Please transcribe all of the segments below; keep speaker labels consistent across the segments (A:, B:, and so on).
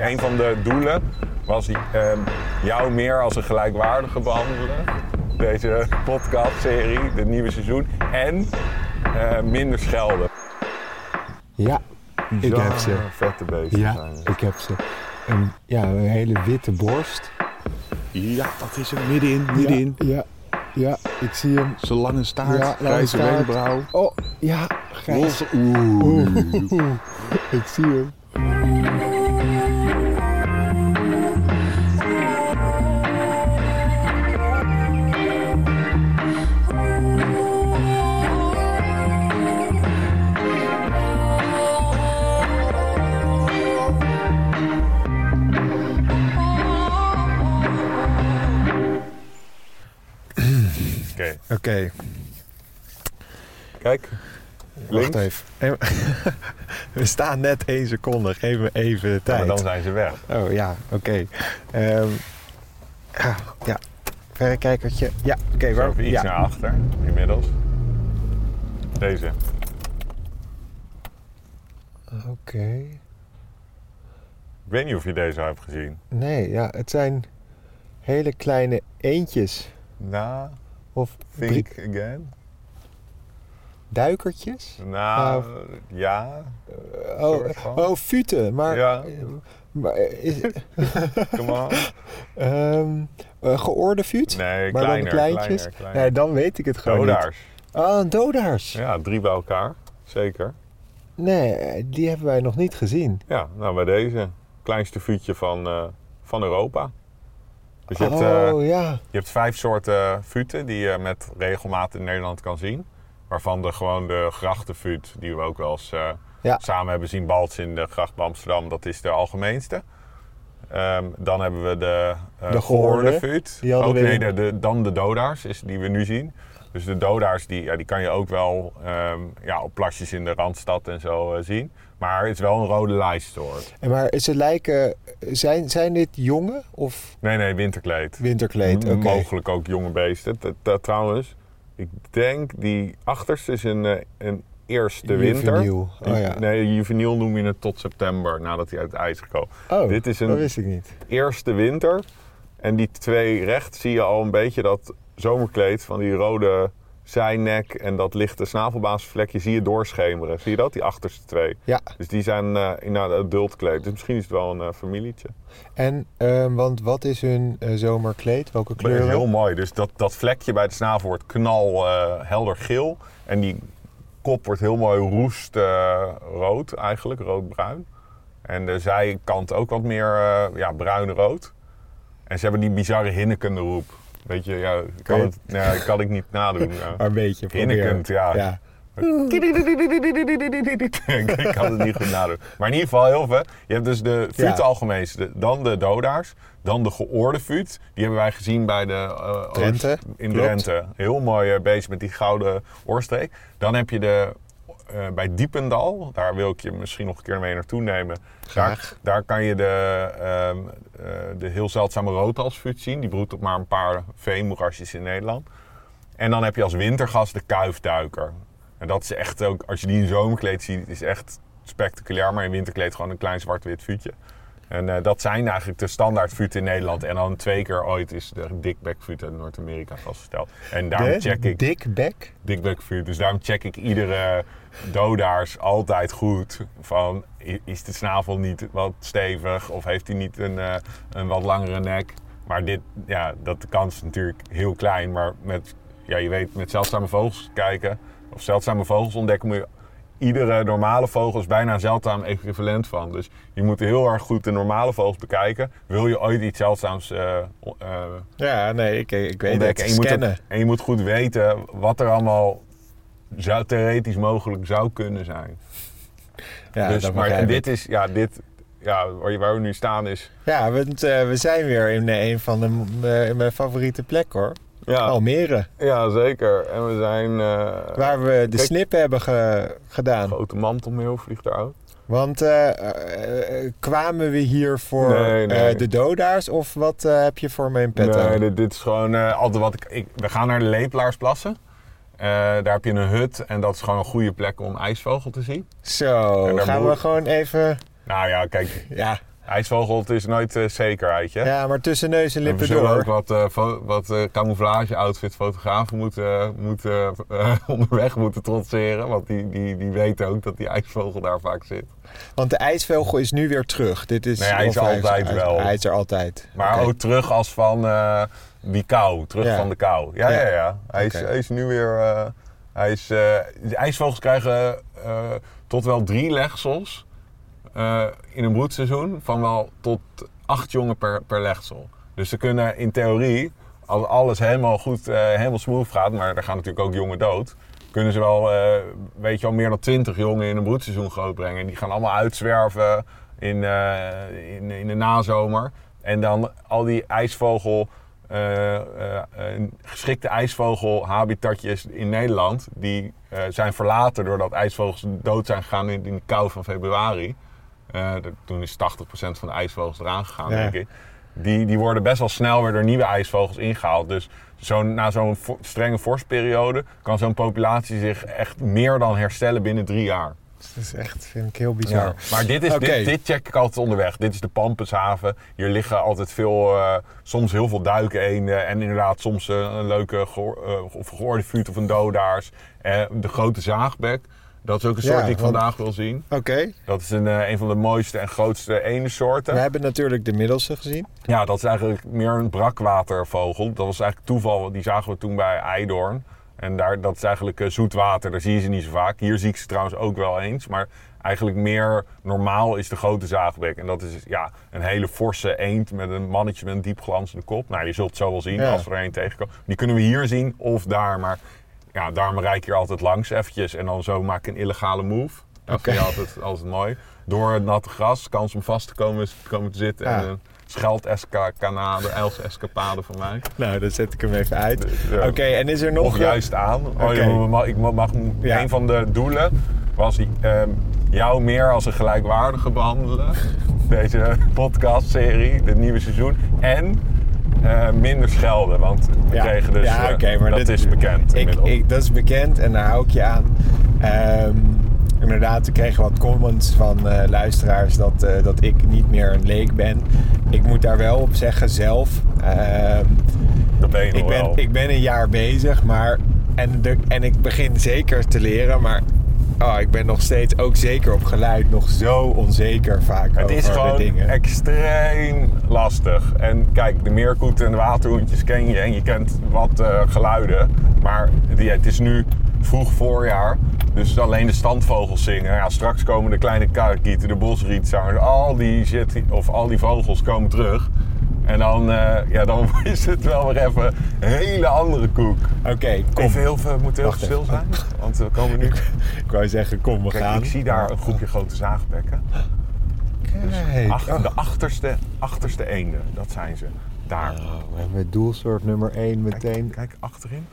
A: een van de doelen was ehm, jou meer als een gelijkwaardige behandelen. Deze podcastserie, dit nieuwe seizoen. En eh, minder schelden.
B: Ja, ik heb ze.
A: Bizarre Vette beesten
B: Ja,
A: zijn het.
B: ik heb ze. Een, ja, een hele witte borst.
C: Ja, dat is hem. Middenin, middenin.
B: Ja, ja, ja, ik zie hem.
C: Zijn lange staart,
B: Ja, lange
C: grijze
B: staart.
C: wenkbrauw.
B: Oh, ja, grijs.
C: Wolf. Oeh.
B: Ik zie hem.
A: Oké,
B: Oké,
A: kijk.
B: wacht
A: Links.
B: even. En- We staan net één seconde. Geef me even de
A: Ja, maar
B: tijd.
A: dan zijn ze weg.
B: Oh ja, oké. Ehm, ja, ja, verrekijkertje. Ja, oké.
A: Zo,
B: waar-
A: even iets
B: ja.
A: naar achter, inmiddels. Deze.
B: Oké.
A: Ik weet niet of je deze al hebt gezien.
B: Nee, ja, het zijn hele kleine eendjes.
A: Nou,
B: Of drie-
A: think again.
B: duikertjes?
A: Nou,
B: Nou,
A: ja.
B: Oh,
A: soort van.
B: oh futen. Maar,
A: Ja.
B: maar is,
A: Come on.
B: ehm, eh, geoorde fut?
A: Nee,
B: maar
A: kleiner,
B: dan de kleintjes?
A: kleiner, kleiner.
B: Nee, dan weet ik het gewoon
A: Dodaars.
B: niet. Oh, een dodaars.
A: Ja, drie bij elkaar. Zeker.
B: Nee, die hebben wij nog niet gezien.
A: Ja, nou bij deze. Kleinste vuurtje van, eh, van Europa. Dus je hebt, eh,
B: oh, ja.
A: je hebt vijf soorten futen die je met regelmaat in Nederland kan zien. Waarvan de, gewoon de grachtenfut, die we ook wel eens eh,
B: Ja.
A: samen hebben zien balsen in de gracht bij Amsterdam. Dat is de algemeenste. Ehm, dan hebben we de, eh
B: De
A: gehoorde
B: gehoorde.
A: fut.
B: Die hadden
A: ook,
B: we-
A: nee, de, de- dan de dodaars is, die we nu zien. Dus de dodaars die, ja, die kan je ook wel ehm, ja, op plasjes in de Randstad en zo eh, zien. Maar het is wel een rode lijstsoort.
B: En Maar ze lijken... Zijn, zijn dit jongen of
A: Nee, nee, winterkleed.
B: winterkleed? Oké.
A: Mm, Mogelijk ook jonge beesten. Dat- dat- trouwens, ik denk die achterste is een, eh, een eerste winter.
B: Juveniel. Oh ja.
A: Nee, juveniel noem je het tot september, nadat hij uit het ijs gekomen.
B: Oh,
A: Dit is
B: dat
A: een
B: wist ik niet.
A: eerste winter. En die twee rechts zie je al een beetje dat zomerkleed van die rode zijnek en dat lichte snavelbaasvlekje zie je doorschemeren. Zie je dat? Die achterste twee.
B: Ja.
A: Dus die zijn eh, in het adultkleed. Dus misschien is het wel een eh, familietje.
B: En, ehm, want wat is hun eh, zomerkleed? Welke
A: Maar het
B: kleuren?
A: is heel mooi. Dus dat, dat vlekje bij de snavel wordt knal eh, helder geel. En die kop wordt heel mooi roest eh, rood eigenlijk, roodbruin. En de zijkant ook wat meer eh, ja, bruin-rood. En ze hebben die bizarre hinnekende roep. Weet je, ja, kan,
B: je-
A: het, nou ja, kan ik niet nadoen. ja.
B: Maar een beetje proberen.
A: Hinnekend, ja.
B: ja.
A: ik, ik kan het niet goed nadoen. Maar in ieder geval heel vet. Je hebt dus de fut
B: Ja.
A: algemeens, de- dan de dodaars, dan de geoorde fut. Die hebben wij gezien bij de... eh,
B: Drenthe,
A: oost- in
B: klopt.
A: Drenthe. Heel mooi eh, beest met die gouden oorstreek. Dan heb je de... eh, bij Diependal, daar wil ik je misschien nog een keer mee naartoe nemen.
B: Graag.
A: Daar, daar kan je de, ehm, eh, de heel zeldzame roodhalsfut zien. Die broedt op maar een paar veemoerasjes in Nederland. En dan heb je als wintergast de kuifduiker. En dat is echt ook, als je die in zomerkleed ziet, is echt spectaculair. Maar in winterkleed gewoon een klein zwart-wit vuutje. En eh, dat zijn eigenlijk de standaard futen in Nederland. En dan twee keer ooit is de dikbekfut uit Noord-Amerika vastgesteld. En daarom
B: De
A: check ik
B: Dick Beck.
A: dikbekfut. Dus daarom check ik iedere dodaars altijd goed. Van, i- is de snavel niet wat stevig? Of heeft hij niet een, eh, een wat langere nek? Maar dit, ja, dat de kans is natuurlijk heel klein. Maar met, ja, je weet, met zeldzame vogels kijken... of zeldzame vogels ontdekken moet je... Iedere normale vogel is bijna een zeldzaam equivalent van. Dus je moet heel erg goed de normale vogels bekijken. Wil je ooit iets zeldzaams eh, o- eh,
B: Ja, nee, ik, ik weet
A: ontdekken.
B: het.
A: En je, moet
B: Scannen.
A: ook- en je moet goed weten wat er allemaal zou, theoretisch mogelijk zou kunnen zijn.
B: Ja,
A: dus,
B: dat
A: maar
B: begrijp
A: dit
B: ik.
A: is, ja, dit, ja, waar, je- waar we nu staan is...
B: Ja, want eh, we zijn weer in eh, een van de, eh, in mijn favoriete plekken hoor.
A: Ja,
B: Almere.
A: ja zeker. En we zijn... eh,
B: Waar we de
A: Kijk. Oh.
B: snip hebben ge- gedaan.
A: grote mantelmeel vliegt eruit.
B: Want eh, eh, eh, kwamen we hier voor
A: Nee, nee.
B: eh, de dodaars of wat eh, heb je voor mijn petto?
A: Nee, dit, dit is gewoon eh, altijd wat ik, ik- We gaan naar de Leeplaarsplassen. Eh, daar heb je een hut en dat is gewoon een goede plek om ijsvogel te zien.
B: Zo,
A: En dan
B: gaan
A: moet-
B: we gewoon even...
A: Nou ja, kijk,
B: Ja,
A: ijsvogel, het is nooit eh, zeker uit je.
C: Ja, maar tussen neus en
A: En we
C: lippen
A: zullen ook
C: door.
A: wat, eh, fo- wat eh, camouflage-outfit fotografen moeten, eh, moeten, eh, onderweg moeten trotseren. Want die, die, die weten ook dat die ijsvogel daar vaak zit.
C: Want de ijsvogel is nu weer terug. Dit is
A: Nee, hij is
C: of
A: er altijd
C: hij-
A: wel.
C: Hij is er altijd.
A: Maar
C: Oké.
A: ook terug als van eh, die kou, terug
C: Ja.
A: van de kou. Ja, ja,
C: Ja.
A: ja. Hij, is,
C: Oké.
A: hij is nu weer... eh, hij is, eh, de ijsvogels krijgen eh, tot wel drie legsels eh, in een broedseizoen van wel tot acht jongen per, per legsel. Dus ze kunnen in theorie, als alles helemaal goed, eh, helemaal smooth gaat, maar er gaan natuurlijk ook jongen dood... Kunnen ze wel, eh, weet je wel, meer dan twintig jongen in een broedseizoen grootbrengen. Die gaan allemaal uitzwerven in, eh, in, in de nazomer. En dan al die ijsvogel, eh, eh, eh, geschikte ijsvogelhabitatjes in Nederland, die eh, zijn verlaten doordat ijsvogels dood zijn gegaan in, in de kou van februari. Eh, dat- toen is 80% van de ijsvogels eraan gegaan,
C: Ja.
A: denk ik. Die, die worden best wel snel weer door nieuwe ijsvogels ingehaald. Dus zo'n- na zo'n vo- strenge vorstperiode kan zo'n populatie zich echt meer dan herstellen binnen drie jaar.
C: Dat is echt, vind ik heel bizar.
A: Ja. Maar dit, is,
C: Oké.
A: dit, dit check ik altijd onderweg. Dit is de Pampushaven. Hier liggen altijd veel, eh, soms heel veel duikeenden. En inderdaad soms eh, een leuke gehoor- eh, of gehoorde vuut of een dodaars. Eh, de grote zaagbek. Dat is ook een soort
C: Ja,
A: die ik
C: want-
A: vandaag wil zien.
C: Oké,
A: Dat is een, eh, een van de mooiste en grootste eendensoorten.
C: we hebben natuurlijk de middelste gezien.
A: Ja, dat is eigenlijk meer een brakwatervogel. Dat was eigenlijk toeval, die zagen we toen bij Eidoorn. En daar, dat is eigenlijk eh, zoetwater, daar zie je ze niet zo vaak. Hier zie ik ze trouwens ook wel eens, maar eigenlijk meer normaal is de grote zaagbek. En dat is ja, een hele forse eend met een mannetje met een diep glanzende kop. Nou, je zult het zo wel zien
C: Ja.
A: als we er een tegenkomen. Die kunnen we hier zien of daar, maar ja, daarom rij ik hier altijd langs eventjes. En dan zo maak ik een illegale move. Dat
C: Oké.
A: vind je altijd, altijd mooi. Door het natte gras, kans om vast te komen, te komen te zitten.
C: Ja.
A: En een scheldescapade, elsescapade van mij.
C: Nou, dan zet ik hem even uit.
A: Ja.
C: Oké, en is er nog...
A: Of juist aan. Oh,
C: Oké.
A: ja, maar ma- ik ma- mag,
C: Ja.
A: Een van de doelen was ehm, jou meer als een gelijkwaardige behandelen. Deze podcastserie, dit nieuwe seizoen. En eh, minder schelden, want we
C: Ja.
A: kregen dus...
C: Ja,
A: eh,
C: oké, maar
A: dat
C: dit-
A: is bekend
C: Ik,
A: inmiddels.
C: ik, dat is bekend en daar hou ik je aan. Ehm, inderdaad, we kregen wat comments van eh, luisteraars dat, eh, dat ik niet meer een leek ben. Ik moet daar wel op zeggen zelf. ehm,
A: dat ben je nog
C: ik, ben,
A: Oh, wel.
C: ik ben een jaar bezig, maar. En, de, en ik begin zeker te leren, maar. Oh, ik ben nog steeds, ook zeker op geluid, nog zo onzeker vaak
A: Het
C: over
A: is gewoon
C: de dingen.
A: extreem lastig. En kijk, de meerkoeten en de waterhoentjes ken je en je kent wat eh, geluiden. Maar die, het is nu vroeg voorjaar, dus alleen de standvogels zingen. Ja, straks komen de kleine karakieten, de bosrietzangers, al die shit, of al die vogels komen terug. En dan, eh, ja, dan is het wel weer even een hele andere koek.
C: Oké, kom.
A: Even heel, veel- we moeten heel
C: Wacht
A: stil zijn, want we komen nu...
C: Ik wou zeggen, kom, we
A: Kijk,
C: gaan.
A: ik zie daar een groepje grote zaagbekken.
C: Kijk.
A: Ach- de achterste, achterste eenden, dat zijn ze. Daar.
C: Oh, we hebben doelsoort nummer 1
A: Kijk,
C: meteen.
A: kijk achterin.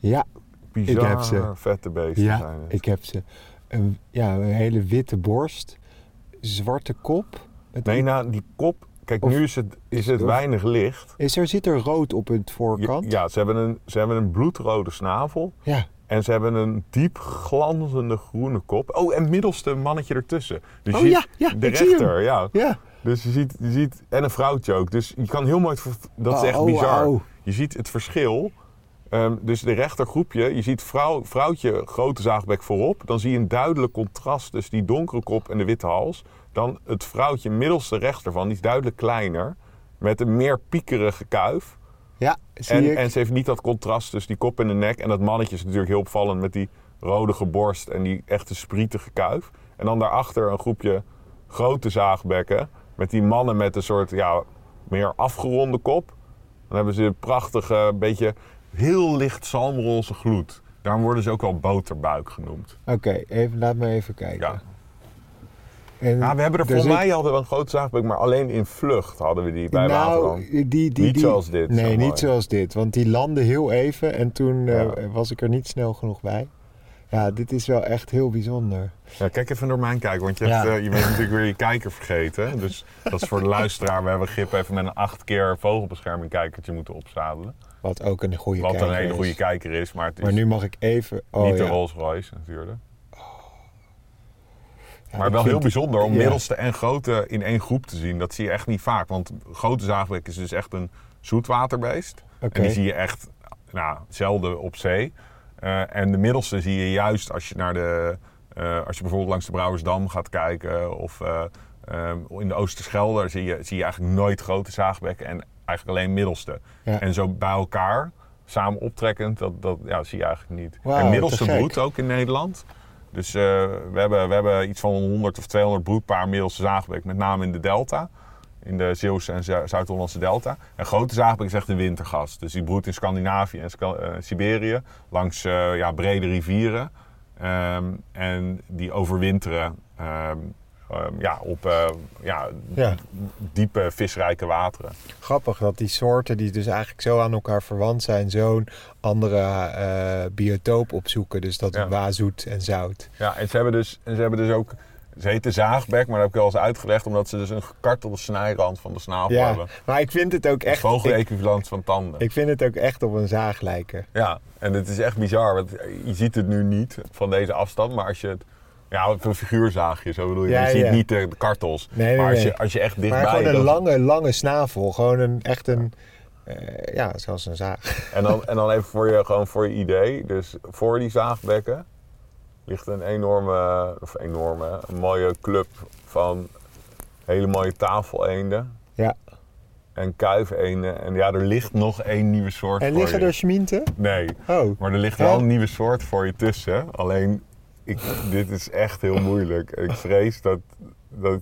C: Ja,
A: Bizar
C: heb ze.
A: vette beesten
C: ja
A: zijn het.
C: ik heb ze. Een, ja, een hele witte borst, zwarte kop. Met
A: Nee, nou, die kop... Kijk,
C: Of-
A: nu is het, is het
C: of-
A: weinig licht.
C: is er zit er rood op het
A: Ja,
C: voorkant?
A: ja, ze hebben, een, ze hebben een bloedrode snavel.
C: Ja.
A: En ze hebben een diep glanzende groene kop. Oh, en middelste mannetje ertussen. Dus
C: Oh
A: je-
C: ja, ja,
A: de
C: ik zie hem.
A: rechter, ja.
C: Ja.
A: Dus je ziet, je ziet, en een vrouwtje ook. Dus je kan heel mooi, het ver- dat is
C: Oh,
A: echt
C: oh,
A: bizar.
C: oh.
A: Je ziet het verschil. Ehm, dus de rechtergroepje, je ziet vrouw, vrouwtje grote zaagbek voorop. Dan zie je een duidelijk contrast tussen die donkere kop en de witte hals. Dan het vrouwtje middelste rechts ervan, die is duidelijk kleiner. Met een meer piekerige kuif.
C: Ja, zie
A: En,
C: ik.
A: en ze heeft niet dat contrast tussen die kop en de nek. En dat mannetje is natuurlijk heel opvallend met die rode borst en die echte sprietige kuif. En dan daarachter een groepje grote zaagbekken. Met die mannen met een soort ja, meer afgeronde kop. Dan hebben ze een prachtige, beetje heel licht zalmroze gloed. Daarom worden ze ook wel boterbuik genoemd.
C: Oké, even, laat me even kijken.
A: Ja.
C: En
A: Ja, we hebben er
C: dus
A: voor
C: ik-
A: mij hadden we een grote zaagbek, maar alleen in vlucht hadden we die bij
C: nou,
A: Waterland.
C: die, die, die,
A: Niet zoals dit,
C: Nee,
A: zeg maar.
C: niet zoals dit. Want die landde heel even en toen eh,
A: Ja.
C: was ik er niet snel genoeg bij. Ja, dit is wel echt heel bijzonder.
A: Ja, kijk even door mijn kijker, want je,
C: Ja.
A: hebt, eh, je bent natuurlijk weer je kijker vergeten. Dus dat is voor de luisteraar. We hebben Gip even met een acht keer vogelbescherming kijkertje moeten opzadelen.
C: Wat ook een goede
A: Wat
C: kijker
A: een hele
C: is.
A: goede kijker is, maar het is
C: Maar nu mag ik even... Oh,
A: niet de
C: ja.
A: Rolls Royce natuurlijk. maar wel heel
C: vind-
A: bijzonder om
C: ja.
A: middelste en grote in één groep te zien. Dat zie je echt niet vaak. Want grote zaagbek is dus echt een zoetwaterbeest.
C: Oké.
A: En die zie je echt nou, zelden op zee. Eh, en de middelste zie je juist als je naar de. eh, als je bijvoorbeeld langs de Brouwersdam gaat kijken. Of eh, ehm, in de Oosterschelde daar zie je, zie je eigenlijk nooit grote zaagbekken. En eigenlijk alleen middelste.
C: Ja.
A: En zo bij elkaar, samen optrekkend, dat, dat ja, zie je eigenlijk niet.
C: Wauw,
A: en middelste
C: te gek.
A: broedt ook in Nederland. Dus eh, we, hebben, we hebben iets van 100 of 200 broedpaar middelste zaagbek, met name in de delta. In de Zeeuwse en Zu- Zuid-Hollandse delta. En grote zaagbek is echt een wintergast. Dus die broedt in Scandinavië en Sca- eh, Siberië, langs eh, ja, brede rivieren. Ehm, en die overwinteren ehm, ehm, ja, op eh, ja,
C: Ja.
A: diepe, visrijke wateren.
C: Grappig dat die soorten die dus eigenlijk zo aan elkaar verwant zijn, zo'n andere eh, biotoop opzoeken. Dus dat
A: Ja.
C: wazoet en zout.
A: Ja, en ze hebben dus, en ze hebben dus ook. Ze heten zaagbek, maar dat heb ik al eens uitgelegd, omdat ze dus een gekartelde snijrand van de snavel
C: Ja,
A: hebben.
C: maar ik vind het ook
A: Het
C: echt. Ik,
A: vogel-equivalent van tanden.
C: ik vind het ook echt op een zaag lijken.
A: Ja, en het is echt bizar, want je ziet het nu niet van deze afstand, maar als je het. Ja, een figuurzaagje, zo bedoel je.
C: Ja,
A: je ziet
C: ja.
A: niet de, de kartels.
C: Nee, nee,
A: maar als
C: nee.
A: je, als je echt
C: Maar
A: dichtbij...
C: gewoon een
A: dat-
C: lange, lange snavel. Gewoon een, echt een. eh, ja, zoals een zaag.
A: En dan, en dan even voor je, gewoon voor je idee. Dus voor die zaagbekken ligt een enorme, of enorme, een mooie club van hele mooie tafeleenden.
C: Ja.
A: en kuifeenden. En ja, er ligt nog één nieuwe soort
C: En
A: voor
C: liggen
A: je.
C: er schminten?
A: Nee,
C: Oh.
A: maar er ligt
C: Hè?
A: wel een nieuwe soort voor je tussen. Alleen, ik, dit is echt heel moeilijk. En Ik vrees dat... dat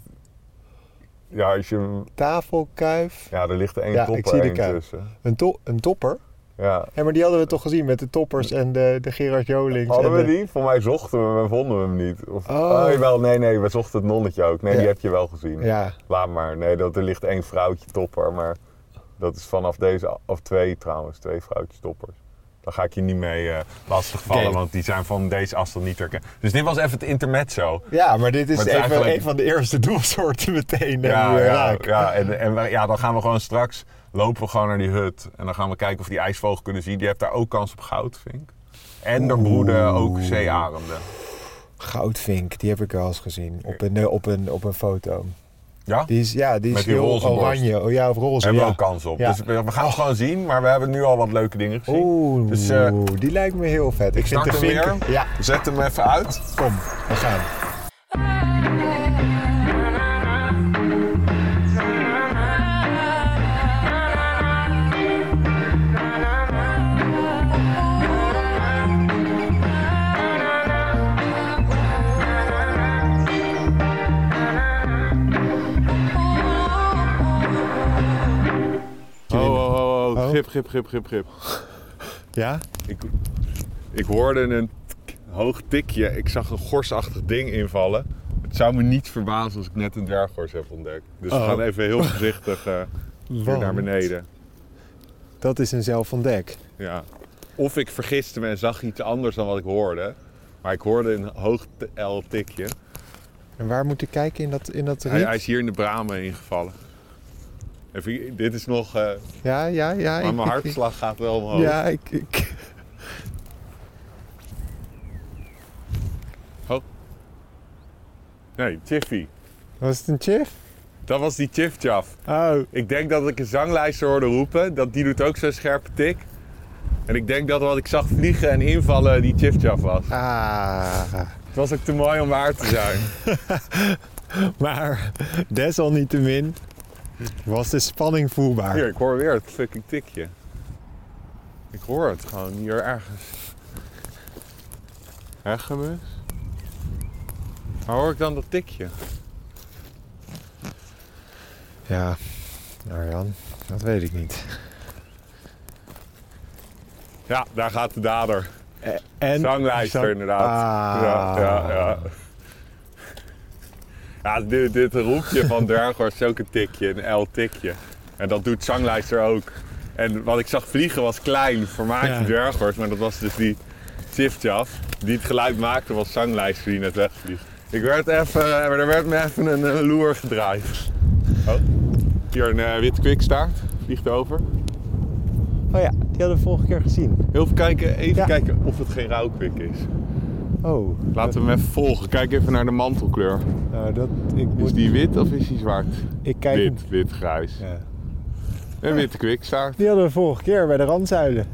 A: ja, als je, hem-
C: Tafelkuif.
A: ja, er ligt één
C: Ja, ik
A: topper
C: zie de
A: één
C: kuif.
A: tussen.
C: Een, to- een topper.
A: Ja.
C: Ja, maar die hadden we toch gezien met de toppers en de, de Gerard Jolings.
A: Hadden
C: en
A: we
C: de-
A: die? Voor mij zochten we hem en vonden we hem niet. Of,
C: Oh.
A: oh. jawel, nee, nee, we zochten het nonnetje ook. Nee, die
C: Ja.
A: heb je wel gezien.
C: Ja,
A: Laat maar. Nee, dat, er ligt één vrouwtje topper, maar dat is vanaf deze... af- Of twee trouwens, twee vrouwtjes toppers. Daar ga ik je niet mee eh lastigvallen,
C: Oké.
A: want die zijn van deze afstand niet te herkennen. Dus dit was even het intermezzo.
C: ja maar dit is,
A: Maar het is
C: even
A: eigenlijk-
C: een van de eerste doelsoorten meteen. eh,
A: Ja,
C: die we
A: ja,
C: raken.
A: ja, en, en wij- ja, dan gaan we gewoon straks... Lopen we gewoon naar die hut en dan gaan we kijken of we die ijsvogel kunnen zien. Die heeft daar ook kans op goudvink. En er broeden ook zeearenden.
C: Goudvink, die heb ik wel eens gezien. Op een, eh, op een, op een foto.
A: Ja?
C: Die is, ja, die is
A: Met die
C: heel
A: roze borst.
C: oranje. Oh, ja, of roze.
A: Daar hebben
C: ja.
A: we ook kans op.
C: Ja.
A: Dus we we gaan het gewoon zien, maar we hebben nu al wat leuke dingen gezien.
C: Oeh,
A: Dus eh,
C: die lijkt me heel vet. Ik, vind
A: start
C: de
A: hem
C: vinken...
A: weer.
C: Ja,
A: zet hem even uit.
C: kom, we gaan.
B: Oh, oh, oh, oh. Grip, grip, grip, grip, grip.
C: Ja?
A: Ik, ik hoorde een tik- hoog tikje. Ik zag een gorsachtig ding invallen. Het zou me niet verbazen als ik net een dwerggors heb ontdekt. Dus we
C: Oh.
A: gaan even heel voorzichtig eh, weer
C: Want
A: naar beneden.
C: Dat is een zelf van dek.
A: Ja. Of ik vergiste me en zag iets anders dan wat ik hoorde. Maar ik hoorde een hoog t- L tikje.
C: En waar moet ik kijken in dat, in dat riet?
A: Hij, hij is hier in de bramen ingevallen. Even, dit is nog... eh,
C: Ja, ja, ja.
A: maar mijn
C: ik- ik- ik-
A: hartslag gaat wel omhoog.
C: Ja, ik... ik-
A: Oh. Nee, Chiffy.
C: Was het een chiff?
A: Dat was die Chiff-Chaff.
C: Oh,
A: Ik denk dat ik een zanglijster hoorde roepen. Dat, die doet ook zo'n scherpe tik. En ik denk dat wat ik zag vliegen en invallen die Chiff-Chaff was.
C: ah.
A: Het was ook te mooi om waar te zijn.
C: Maar desalniettemin was de spanning voelbaar.
A: Hier, ik hoor weer het fucking tikje. Ik hoor het gewoon hier ergens. Hegemus? Waar hoor ik dan dat tikje?
C: Ja, Arjan, dat weet ik niet.
A: Ja, daar gaat de dader.
C: En
A: Zanglijster
C: Zang-
A: inderdaad.
C: Ah.
A: Ja, ja, ja. Ja, dit, dit roepje van Dwerghorst is ook een tikje, een L-tikje. En dat doet Zanglijster ook. En wat ik zag vliegen was klein, vermaakte
C: Ja.
A: Dwerghorst. Maar dat was dus die Ziftjaf, die het geluid maakte was Zanglijster die net wegvliegt. Ik werd even, eh, er werd me even een, eh, loer gedraaid. Oh, hier een eh, wit kwikstaart, vliegt over.
C: Oh ja, die hadden we vorige keer gezien.
A: Heel even kijken, even
C: Ja.
A: kijken of het geen rauwkwik is. Oh. Laten we hem even volgen. Kijk even naar de mantelkleur.
C: Nou, dat, ik
A: Is
C: moet,
A: die wit of is die zwart?
C: ik kijk,
A: Wit, wit, grijs.
C: Ja.
A: En witte kwikstaart.
C: Die hadden we vorige keer bij de randzuilen.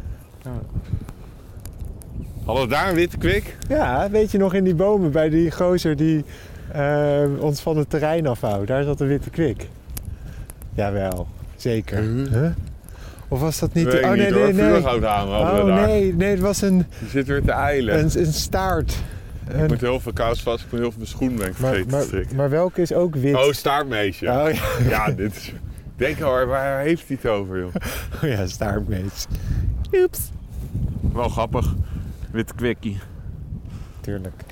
A: Hadden we daar een witte kwik?
C: Ja, weet je nog in die bomen bij die gozer die eh, ons van het terrein afhoudt? Daar zat een witte kwik. Jawel, zeker. Huh? Of was dat niet...
A: Weet ik
C: oh, nee,
A: niet hoor.
C: nee, nee.
A: Vuurgoud hangen hadden
C: Oh
A: we daar.
C: nee, nee, het was een,
A: Die zit weer te eilen.
C: een, een staart.
A: Ik
C: een-
A: moet heel veel kous vast. Ik moet heel veel mijn schoen ben ik
C: Maar,
A: vergeten
C: maar,
A: te strikken.
C: maar welke is ook wit?
A: Oh, staartmeisje.
C: Oh, ja.
A: Ja, dit is... Denk hoor, waar heeft hij het over, joh?
C: Oh ja, staartmees.
D: Oeps.
A: Wel grappig. Witte kwikkie.
C: Tuurlijk.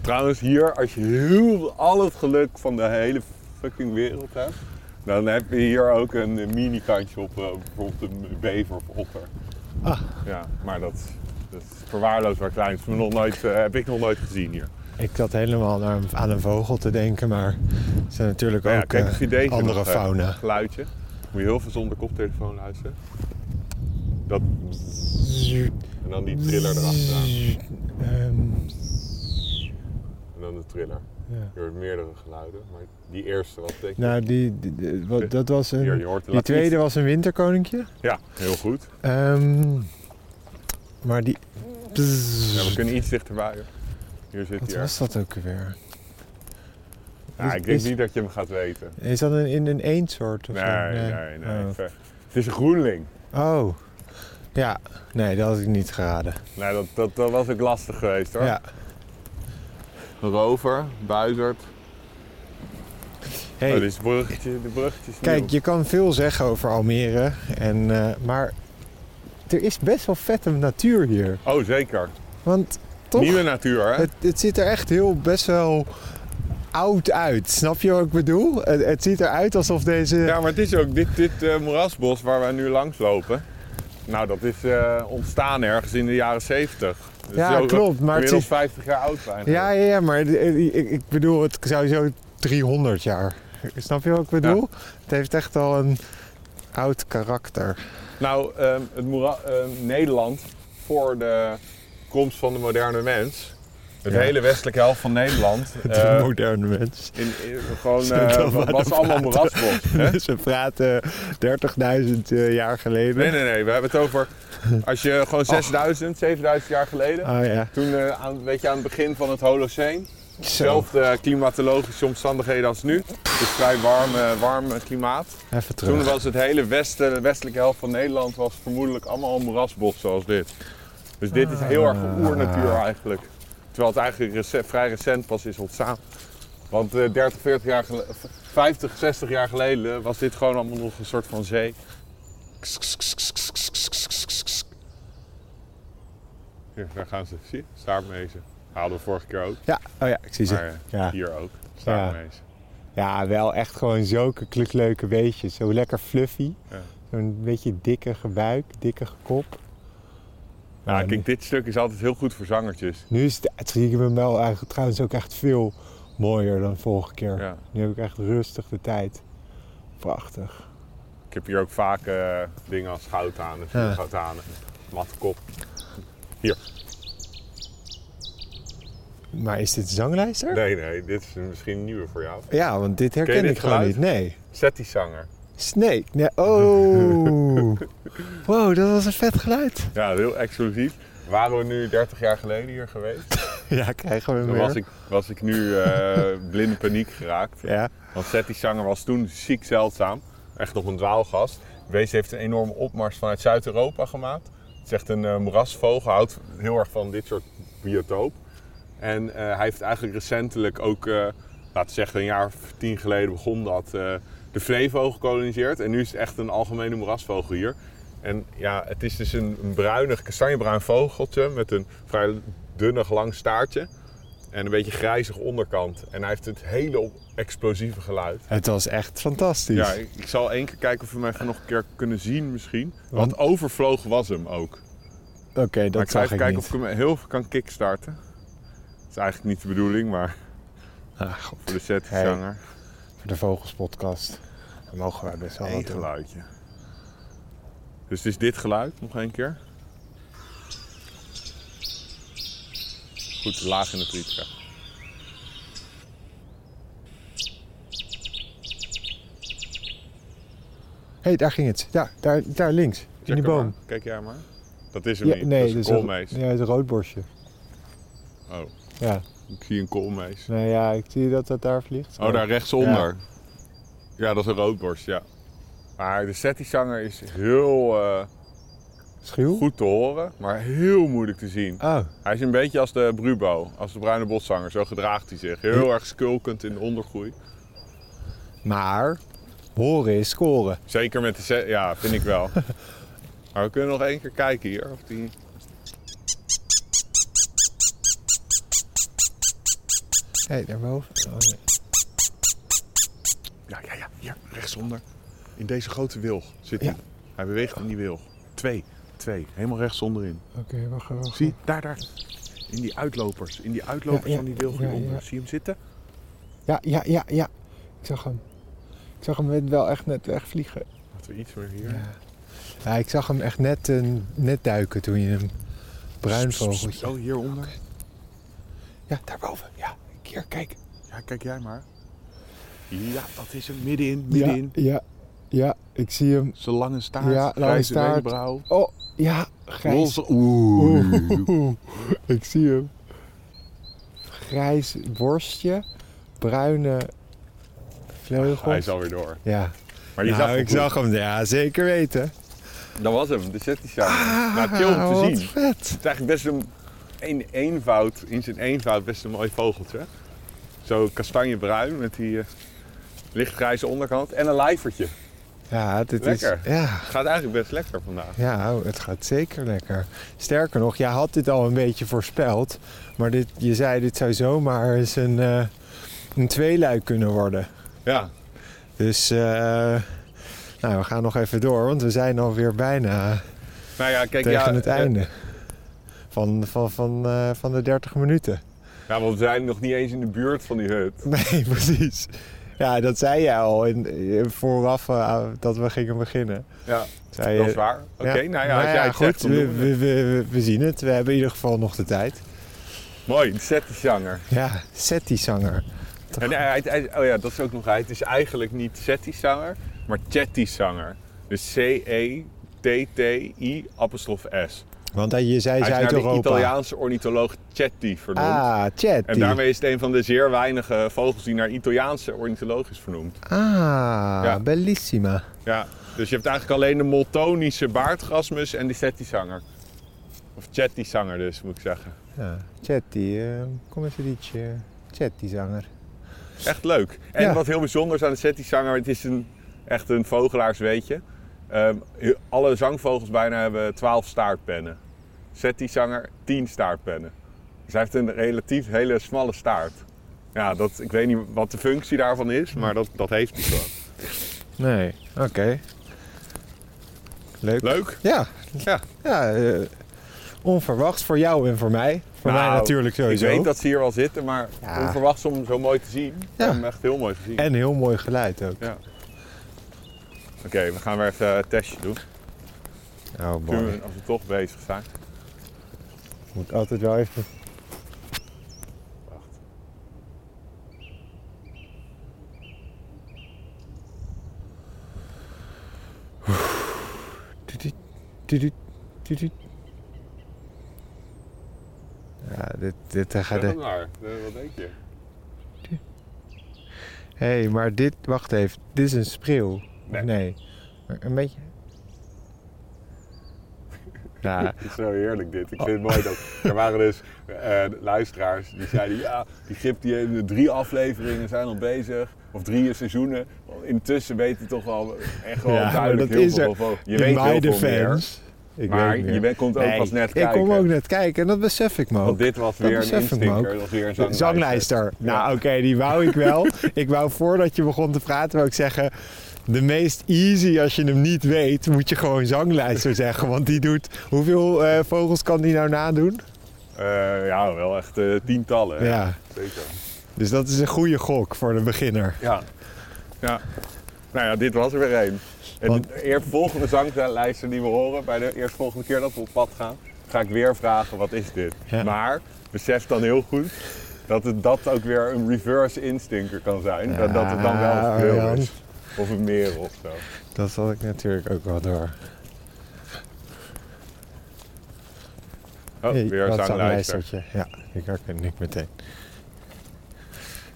A: Trouwens, hier, als je heel al het geluk van de hele fucking wereld hebt, dan heb je hier ook een eh, mini-kantje op eh, bijvoorbeeld een bever of otter.
C: Ah.
A: Ja, maar dat, dat is verwaarloosbaar klein. Dat is me nog nooit, eh, heb ik nog nooit gezien hier.
C: Ik zat helemaal naar, een- aan een vogel te denken, maar er zijn natuurlijk
A: Nou ja,
C: ook
A: kijk
C: eh,
A: of je deze
C: andere
A: nog, eh,
C: fauna.
A: geluidje. Moet je heel veel zonder koptelefoon luisteren. Dat en dan die triller erachteraan.
C: Ehm,
A: En dan de triller.
C: ja.
A: Je hoort meerdere geluiden, maar die eerste wat denk je?
C: Nou, die, die- die- wat, dat was
A: Hier, je
C: een...
A: hoort de
C: Die
A: laatste.
C: tweede was een winterkoninkje.
A: Ja, heel goed.
C: Ehm, maar die...
A: Ja, we kunnen iets dichterbij. hoor. Hier zit
C: Wat
A: hij. er.
C: was dat ook weer?
A: Ja, ik denk
C: Is-
A: niet dat je hem gaat weten.
C: Is dat een, in een eendsoort of
A: Nee,
C: zo?
A: nee, nee.
C: Oh.
A: ver. Het is een groenling.
C: Oh. Ja, nee, dat had ik niet geraden.
A: Nee, dat, dat, dat was ook lastig geweest hoor.
C: Ja.
A: Rover, buizerd.
C: Hey,
A: Oh, dit is bruggetje, de bruggetjes.
C: kijk, je kan veel zeggen over Almere, en, eh, maar er is best wel vette natuur hier.
A: Oh, zeker.
C: Want toch,
A: Nieuwe natuur, hè?
C: het, het ziet er echt heel best wel oud uit. Snap je wat ik bedoel? Het, het ziet eruit alsof deze...
A: Ja, maar het is ook dit, dit eh, moerasbos waar we nu langs lopen. Nou, dat is eh, ontstaan ergens in de jaren 70. Dus
C: Ja,
A: zo-
C: klopt, maar het
A: Inmiddels
C: is-
A: 50 jaar oud zijn.
C: ja, ja, ja, maar eh, ik, ik- ik bedoel, het zou zo 300 jaar. Snap je wat ik bedoel? Het heeft echt al een oud karakter.
A: Nou, ehm, het moera- ehm, Nederland voor de komst van de moderne mens. Het
C: Ja.
A: hele westelijke helft van Nederland.
C: De
A: eh,
C: moderne mens.
A: in, in- gewoon,
C: Zo dat
A: eh,
C: we
A: wa-
C: aan
A: was
C: het
A: allemaal
C: praten.
A: moerasbos. hè?
C: Ze praten 30.000 eh, jaar geleden.
A: Nee, nee, nee. We hebben het over als je gewoon 6000, 7000 jaar geleden.
C: Oh ja.
A: Toen, eh, aan, weet je, aan het begin van het Holoceen.
C: Zo,
A: Zelfde klimatologische omstandigheden als nu. Dus vrij warm, eh, warm eh, klimaat.
C: even
A: Toen
C: terug.
A: was het hele westen, de westelijke helft van Nederland, was vermoedelijk allemaal een moerasbos zoals dit. Dus dit is heel erg oernatuur eigenlijk. Terwijl het eigenlijk rece- vrij recent pas is ontstaan. Want eh, 30, 40 jaar geleden, 50, 60 jaar geleden was dit gewoon allemaal nog een soort van zee. Hier, daar gaan ze. Zie je? Staartmezen. Haalden we vorige keer ook.
C: Ja, oh ja, ik zie
A: Maar
C: ze.
A: eh,
C: Ja,
A: hier ook. Staartmezen.
C: ja wel echt gewoon zulke kle- leuke beestjes. Zo lekker fluffy.
A: Ja.
C: Zo'n beetje dikke buik, dikke kop.
A: Nou,
C: Ja,
A: kijk, dit stuk is altijd heel goed voor zangertjes.
C: Nu is het, het zie ik me wel eigenlijk trouwens ook echt veel mooier dan vorige keer.
A: Ja.
C: Nu heb ik echt rustig de tijd. Prachtig.
A: Ik heb hier ook vaak eh, dingen als goudhanen,
C: Ja.
A: goudhanen, matte kop. Hier.
C: Maar is dit zanglijster?
A: Nee, nee, dit is misschien een nieuwe voor jou.
C: Ja, want dit herken
A: Ken je
C: ik
A: dit
C: gewoon
A: geluid?
C: niet. Nee.
A: Zet die zanger.
C: Snake. Nee. Oh. wow, dat was een vet geluid.
A: Ja, heel exclusief. Waren we nu 30 jaar geleden hier geweest,
C: Ja, krijgen we hem
A: dan
C: weer.
A: was ik, was ik nu eh blinde paniek geraakt.
C: Ja.
A: Want Seti Sanger was toen ziek zeldzaam. Echt nog een dwaalgast. Wees heeft een enorme opmars vanuit Zuid-Europa gemaakt. Het is echt een eh, moerasvogel, houdt heel erg van dit soort biotoop. En eh, hij heeft eigenlijk recentelijk ook, eh, laten we zeggen een jaar of tien geleden begon dat, eh, de vleevogel gekoloniseerd. En nu is het echt een algemene moerasvogel hier. En ja, het is dus een, een bruinig, kastanjebruin vogeltje met een vrij dunnig lang staartje. En een beetje grijzig onderkant. En hij heeft het hele op- explosieve geluid.
C: Het was echt fantastisch.
A: Ja, ik, ik zal één keer kijken of we hem even nog een keer kunnen zien misschien.
C: Want-
A: Want overvloog was hem ook.
C: Oké,
A: maar
C: dat
A: ik ga
C: zag
A: even
C: ik
A: kijken
C: niet.
A: of ik hem heel veel kan kickstarten. Dat is eigenlijk niet de bedoeling, maar
C: Ah, goed.
A: voor de set
C: Hey,
A: zanger.
C: Voor de Vogelspodcast. Dan mogen wij best wel
A: Eén
C: wat doen.
A: geluidje. Dus het is dit geluid, nog één keer. goed laag in de friet krijgt.
C: hey, daar ging het. Ja, daar, daar links. In
A: Check
C: die
A: hem
C: boom.
A: maar. Kijk jij maar. Dat is hem
C: Ja,
A: niet.
C: nee,
A: dat
C: dat
A: is
C: is
A: een
C: een-
A: koolmees.
C: Ja, het roodborstje.
A: Oh,
C: Ja.
A: ik zie een koolmees.
C: Nou ja, ik zie dat dat daar vliegt.
A: Oh, daar rechtsonder. Ja, dat is een roodborst, ja. Maar de settizanger is heel eh,
C: Schuw?
A: goed te horen, maar heel moeilijk te zien.
C: Oh,
A: Hij is een beetje als de Brubo, als de bruine boszanger. Zo gedraagt hij zich. Heel erg skulkend in de ondergroei.
C: maar horen is scoren.
A: Zeker met de set, ja, vind ik wel. maar we kunnen nog één keer kijken hier. Of die...
C: Hé, hey, daarboven. Oh, nee.
A: Ja, ja, ja, hier, rechtsonder. In deze grote wilg zit
C: Ja.
A: hij. Hij beweegt in die wilg. Twee, twee, helemaal rechtsonder in.
C: Oké, wacht even.
A: Zie, daar, daar. In die uitlopers, in die uitlopers
C: Ja, ja,
A: van die wilg
C: ja,
A: hieronder.
C: ja.
A: Zie je hem zitten?
C: Ja, ja, ja, ja. Ik zag hem. Ik zag hem net wel echt net wegvliegen.
A: Laten we iets meer hier.
C: Ja, ik zag hem echt net, eh, net duiken toen je hem... Bruin vogeltje.
A: Oh, hieronder.
C: Ja, daarboven. Ja, hier, kijk.
A: Ja, kijk jij maar. Ja, dat is hem. Middenin, middenin.
C: Ja, ja, ja, ik zie hem.
A: Zijn lange staart,
C: Ja, lange
A: grijze
C: staart.
A: wenkbrauw.
C: Oh, ja, grijs.
A: Roze- Oeh.
C: Oeh, ik zie hem. Grijs borstje, bruine vleugels.
A: Hij is alweer door.
C: Ja,
A: Maar die
C: Nou,
A: zag
C: ik zag hem. Ja, zeker weten.
A: Dat was hem, de set die Nou, chill om
C: Ah,
A: te zien.
C: Wat vet.
A: Het is eigenlijk best een, een eenvoud, in zijn eenvoud best een mooi vogeltje. Zo kastanjebruin met die eh, lichtgrijze onderkant en een lijvertje.
C: Ja, dit
A: Lekker.
C: is... Ja.
A: Gaat eigenlijk best lekker vandaag.
C: Ja, oh, het gaat zeker lekker. Sterker nog, jij had dit al een beetje voorspeld. Maar dit, je zei, dit zou zomaar eens een, eh, een tweeluik kunnen worden.
A: Ja,
C: Dus eh, nou, we gaan nog even door, want we zijn alweer bijna
A: nou ja, kijk,
C: tegen
A: ja,
C: het
A: eh,
C: einde van, van, van, eh, van de 30 minuten.
A: Ja, want we zijn nog niet eens in de buurt van die hut.
C: Nee, precies. Ja, dat zei jij al in, in- vooraf eh, dat we gingen beginnen.
A: Ja,
C: Zei
A: dat
C: je-
A: is waar. Oké,
C: Eh, Ja.
A: nou ja, als
C: Nou
A: jij
C: ja,
A: het
C: goed,
A: zegt, dan
C: we,
A: doen we het.
C: we, we, we zien het. We hebben in ieder geval nog de tijd.
A: Mooi, de settizanger.
C: Ja, Setti-zanger.
A: En hij, hij- hij- oh ja, dat is ook nog, hij- het is eigenlijk niet settizanger, maar chattizanger. Dus C-E-T-T-I apostrof S.
C: Want eh, je zei
A: Hij is naar de
C: Zuid-Europa.
A: Italiaanse ornitholoog Chetti vernoemd.
C: ah, Chat.
A: En daarmee is het een van de zeer weinige vogels die naar Italiaanse ornitholoog is vernoemd.
C: Ah,
A: Ja.
C: bellissima.
A: Ja, dus je hebt eigenlijk alleen de moltonische baardgrasmus en de settizanger. Of Chattizanger dus, moet ik zeggen.
C: Ja, Chatty, eh kom eens een liedje. Chatty-zanger.
A: Echt leuk. En
C: Ja.
A: wat heel bijzonder is aan de settizanger, het is een, echt een vogelaars, weet je. Ehm, he- alle zangvogels bijna hebben 12 staartpennen. Settizanger 10 staartpennen. Dus hij heeft een relatief hele smalle staart. Ja, dat, ik weet niet wat de functie daarvan is, maar dat, dat heeft hij gewoon.
C: Nee, oké. Leuk.
A: Leuk?
C: Ja,
A: Ja.
C: ja eh, onverwacht voor jou en voor mij. Voor mij
A: Nou,
C: natuurlijk sowieso.
A: Ik weet dat ze hier wel zitten, maar
C: Ja.
A: onverwachts om hem zo mooi te zien. Ik
C: Ja.
A: heb hem echt heel mooi gezien.
C: En heel mooi geluid ook.
A: Ja. Oké, we gaan weer even een testje doen.
C: Oh
A: Kunnen
C: boy,
A: we, als we toch bezig zijn.
C: moet altijd wel even...
A: Wacht.
C: Tuut, tuut, tuut, tuut. Ja, dit, dit eh,
A: Zeg
C: gaat... de-
A: het maar. Eh, Wat denk je?
C: Hé, hey, maar dit, wacht even, dit is een spreeuw. Of
A: Nee.
C: nee. Maar Een beetje. Ja,
A: Het is zo heerlijk dit.
C: Oh.
A: Ik vind het mooi dat er waren dus eh, luisteraars die zeiden ja, die Gip die heeft drie afleveringen zijn al bezig of drie seizoenen. Intussen weet je toch wel echt wel
C: Ja, maar
A: duidelijk
C: dat
A: heel
C: is
A: veel
C: er.
A: van. Je
C: in
A: weet heel
C: mijn
A: veel meer.
C: defense. Ik
A: Maar
C: weet meer.
A: je bent- komt ook
C: Nee,
A: pas net
C: ik
A: kijken.
C: kom ook net kijken en dat besef ik me
A: Want
C: ook.
A: dit was
C: Dat
A: weer een
C: besef ik me
A: instinker,
C: ook.
A: dat was weer een
C: Zanglijster.
A: zanglijster.
C: Nou
A: Ja.
C: oké, die wou ik wel. ik wou voordat je begon te praten, wou ik zeggen... De meest easy als je hem niet weet, moet je gewoon zanglijster zeggen. Want die doet... Hoeveel eh, vogels kan die nou nadoen?
A: Eh, ja, wel echt eh, tientallen. hè.
C: ja.
A: Zeker.
C: Dus dat is een goede gok voor de beginner.
A: Ja. ja. Nou ja, dit was er weer één. En
C: Want-
A: de eerstvolgende zanglijster die we horen bij de eerstvolgende keer dat we op pad gaan, ga ik weer vragen, wat is dit?
C: Ja.
A: Maar besef dan heel goed dat het, dat ook weer een reverse instinker kan zijn. dat, dat het dan wel
C: Ah,
A: een spreeuw
C: Arjan.
A: is. Of een merel of zo.
C: Dat had ik natuurlijk ook wel door.
A: Oh,
C: Hey,
A: weer
C: wat
A: zo'n
C: zo'n
A: luister.
C: lijstertje. Ja, ik herken ik meteen.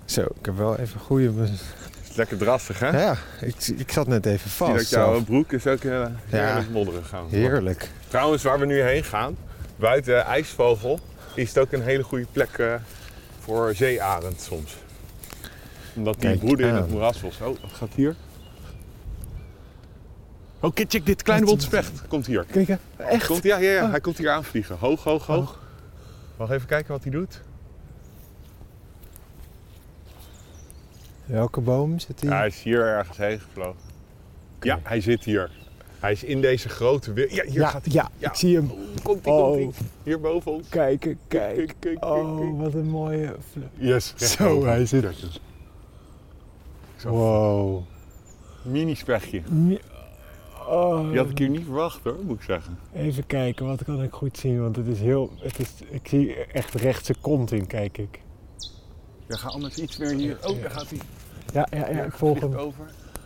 C: Zo, ik heb wel even goede... be-
A: Is Lekker drassig, hè?
C: Ja, ik, ik zat net even
A: Zie
C: vast.
A: dat jouw
C: zelf.
A: broek is ook eh heerlijk
C: Ja.
A: modderig gaan.
C: Heerlijk.
A: Trouwens, waar we nu heen gaan, buiten IJsvogel, is het ook een hele goede plek eh, voor zeearend soms. Omdat die
C: Kijk eh,
A: broeden in
C: aan.
A: het moeras was. Oh, wat gaat hier? Oh, kijk, check dit. Kleine bondspecht komt hier.
C: Kijk, echt? Oh.
A: Komt, ja, ja, ja. hij komt hier aanvliegen. Hoog, hoog, hoog. Mag even kijken wat hij doet.
C: Welke boom zit hier?
A: Ja, hij is hier ergens heen gevlogen. Ja, hij zit hier. Hij is in deze grote weer. Ja, hier
C: ja,
A: gaat hij.
C: ja,
A: Ja.
C: ik zie hem.
A: Komt hij,
C: Oh.
A: komt hij. Hier boven ons.
C: Kijken,
A: kijk,
C: kijk.
A: kijk, kijk.
C: Oh, wat een mooie... vle-
A: Yes.
C: Zo, hij zit er. Wow.
A: Mini spechtje.
C: Mi- Oh,
A: Die had ik hier niet verwacht hoor, moet ik zeggen.
C: even kijken, wat kan ik goed zien? Want het is heel... Het is, ik zie echt rechts zijn kont in, kijk ik.
A: Ja, ga anders iets meer hier. Oh, daar gaat hij.
C: Ja, ja, ja, ik volg hem.
A: over.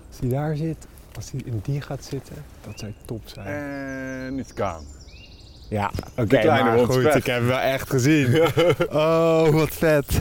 C: Als hij daar zit, als hij in die gaat zitten, dat zou top zijn.
A: En it's gone.
C: ja, oké,
A: Eh. kleine
C: maar
A: hond
C: goed,
A: weg.
C: ik heb hem wel echt gezien. oh, wat vet.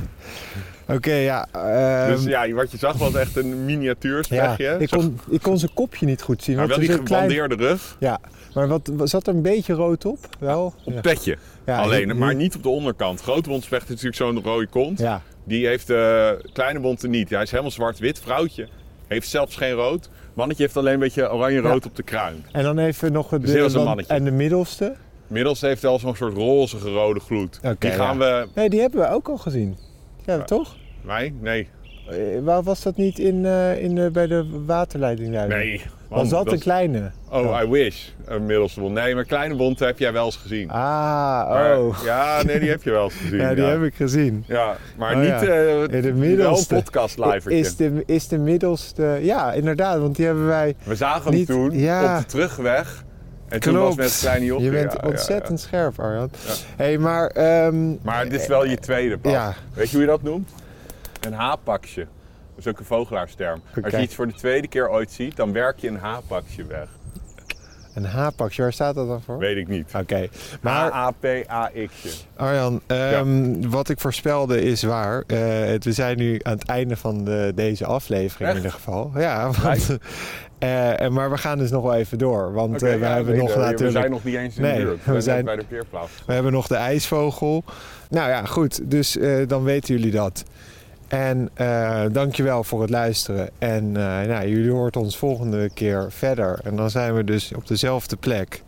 C: Oké, ja. ehm,
A: dus ja, wat je zag was echt een miniatuur
C: ja,
A: spechtje.
C: ik,
A: Zo-
C: kon, ik kon zijn kopje niet goed zien.
A: maar
C: want
A: wel
C: er
A: die
C: zit klein-
A: gebandeerde rug
C: Ja, maar wat, zat er een beetje rood op? Wel?
A: op
C: ja.
A: petje.
C: Ja,
A: Alleen,
C: hier-
A: maar niet op de onderkant. Grote bondspecht is natuurlijk zo'n rode kont.
C: Ja,
A: Die heeft eh, kleine bonten niet. Hij is helemaal zwart-wit. Vrouwtje heeft zelfs geen rood. Mannetje heeft alleen een beetje oranje-rood op de kruin.
C: en dan even nog de,
A: Dus dit was een
C: want-
A: mannetje.
C: en de middelste.
A: Middels heeft hij al zo'n soort rozige rode gloed.
C: Oké,
A: die gaan we...
C: Nee, die hebben we ook al gezien. Ja, toch?
A: Wij? Nee.
C: Eh, Waar was dat niet in, eh, in, eh, bij de waterleiding? daar?
A: Nee. man,
C: Was dat,
A: dat-
C: een kleine?
A: Oh, I wish. Een middelste bond. Nee, maar kleine bond heb jij wel eens gezien.
C: Ah,
A: Maar-
C: oh.
A: Ja, nee, die heb je wel eens gezien.
C: Ja, die
A: ja.
C: heb ik gezien.
A: Ja, maar
C: Oh,
A: niet
C: ja.
A: eh,
C: In de
A: wel een
C: middelste.
A: podcast live.
C: Is de, is de middelste... Ja, inderdaad, want die hebben wij...
A: We zagen hem
C: niet-
A: toen
C: ja.
A: op de terugweg. En toen was met het kleine jochie.
C: Je bent
A: Ja, ja, ja.
C: ontzettend scherp, Arjan. hey, maar... ehm,
A: Maar dit is wel je tweede pas.
C: Ja.
A: Weet je hoe je dat noemt? Een haapaksje. Dat is ook een vogelaarsterm. Als
C: Oké.
A: je iets voor de tweede keer ooit ziet, dan werk je een haapaksje weg.
C: een haapakje, waar staat dat dan voor?
A: Weet ik niet.
C: Oké, maar...
A: A-A-P-A-X-je.
C: Arjan, ehm, wat ik voorspelde is waar. Eh, het- we zijn nu aan het einde van de, deze aflevering
A: Echt?
C: in ieder geval. Ja, want, eh, eh, maar we gaan dus nog wel even door. Want
A: Oké,
C: eh, we,
A: ja,
C: hebben
A: weet
C: nog
A: je,
C: natuurlijk,
A: we zijn nog niet eens in
C: Nee,
A: de buurt.
C: we
A: We, zijn net
C: zijn-
A: bij de parkeerplaats.
C: we hebben nog de ijsvogel. Nou ja, goed. Dus eh, dan weten jullie dat. En eh dankjewel voor het luisteren. En eh, nou, jullie hoort ons volgende keer verder. En dan zijn we dus op dezelfde plek.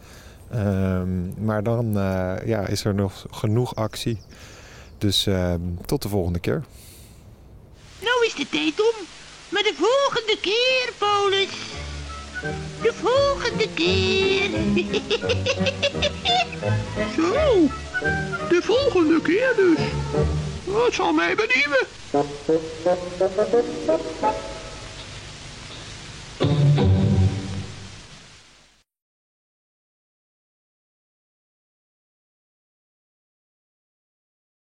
C: Ehm, maar dan eh, ja, is er nog genoeg actie. Dus ehm, tot de volgende keer.
E: Nou is de tijd om. Maar de volgende keer, Paulus. De volgende keer.
F: Zo, de volgende keer dus. Dat zal mij benieuwen.